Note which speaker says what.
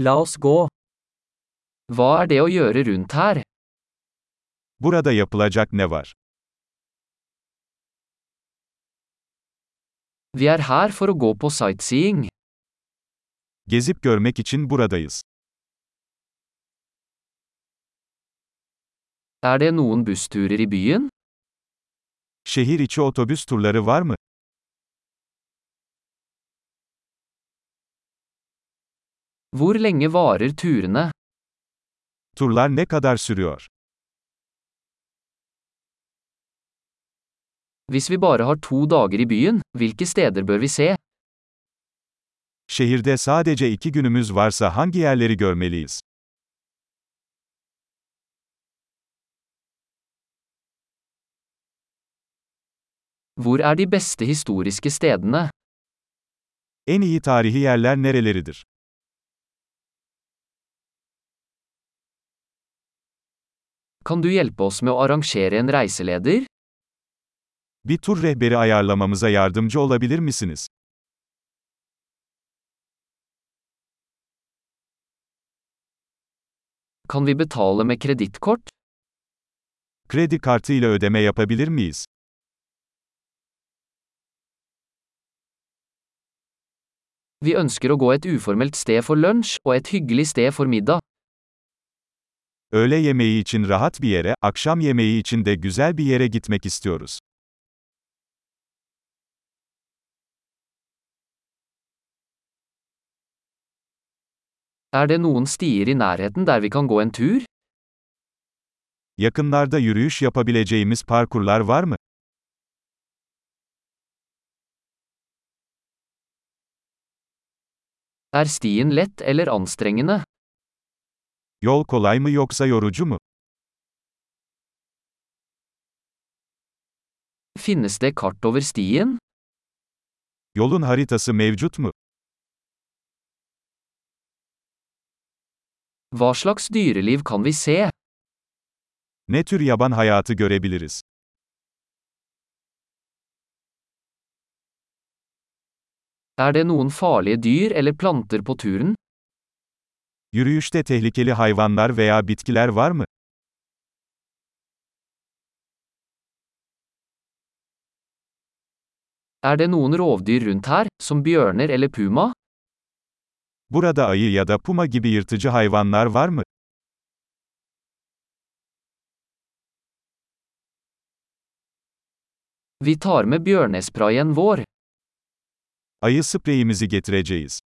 Speaker 1: La oss gå. Hva er det å gjøre rundt her?
Speaker 2: Burada yapılacak ne var?
Speaker 1: Vi er her for å gå på sightseeing.
Speaker 2: Gezip görmek için buradayız.
Speaker 1: Er det noen bussturer i byen?
Speaker 2: Şehir içi otobüs turları var mı?
Speaker 1: Hvor lenge varer turene?
Speaker 2: Turlar ne kadar sürüyor?
Speaker 1: Hvis vi bare har to dager i byen, hvilke steder bør vi se?
Speaker 2: Şehirde sadece iki günümüz varsa hangi yerleri görmeliyiz?
Speaker 1: Hvor er de beste historiske stedene?
Speaker 2: En iyi tarihi yerler nereleridir?
Speaker 1: Kan du hjelpe oss med å arrangere en reiseleder?
Speaker 2: Bir tur rehberi ayarlamamıza yardımcı olabilir misiniz?
Speaker 1: Kan vi betale med kredittkort?
Speaker 2: Kredi kartı ile ödeme yapabilir miyiz?
Speaker 1: Vi ønsker å gå et uformelt sted for lunsj og et hyggelig sted for middag.
Speaker 2: Öğle yemeği için rahat bir yere, akşam yemeği için de güzel bir yere gitmek istiyoruz.
Speaker 1: Er det noen stier i nærheten der vi kan gå en tur?
Speaker 2: Yakınlarda yürüyüş yapabileceğimiz parkurlar var mı?
Speaker 1: Er stien lett eller anstrengende?
Speaker 2: Yol kolay mı yoksa yorucu mu?
Speaker 1: Finnes det kart over stien?
Speaker 2: Yolun haritası mevcut mu?
Speaker 1: Hva slags dyreliv kan vi se?
Speaker 2: Ne tür yaban hayatı görebiliriz?
Speaker 1: Er det noen farlige dyr eller planter på turen?
Speaker 2: Yürüyüşte tehlikeli hayvanlar veya bitkiler var mı?
Speaker 1: Er det noen rovdyr rundt her, som bjørner eller puma?
Speaker 2: Burada ayı ya da puma gibi yırtıcı hayvanlar var mı?
Speaker 1: Vi tar med bjørnesprayen vår.
Speaker 2: Ayı spreyimizi getireceğiz.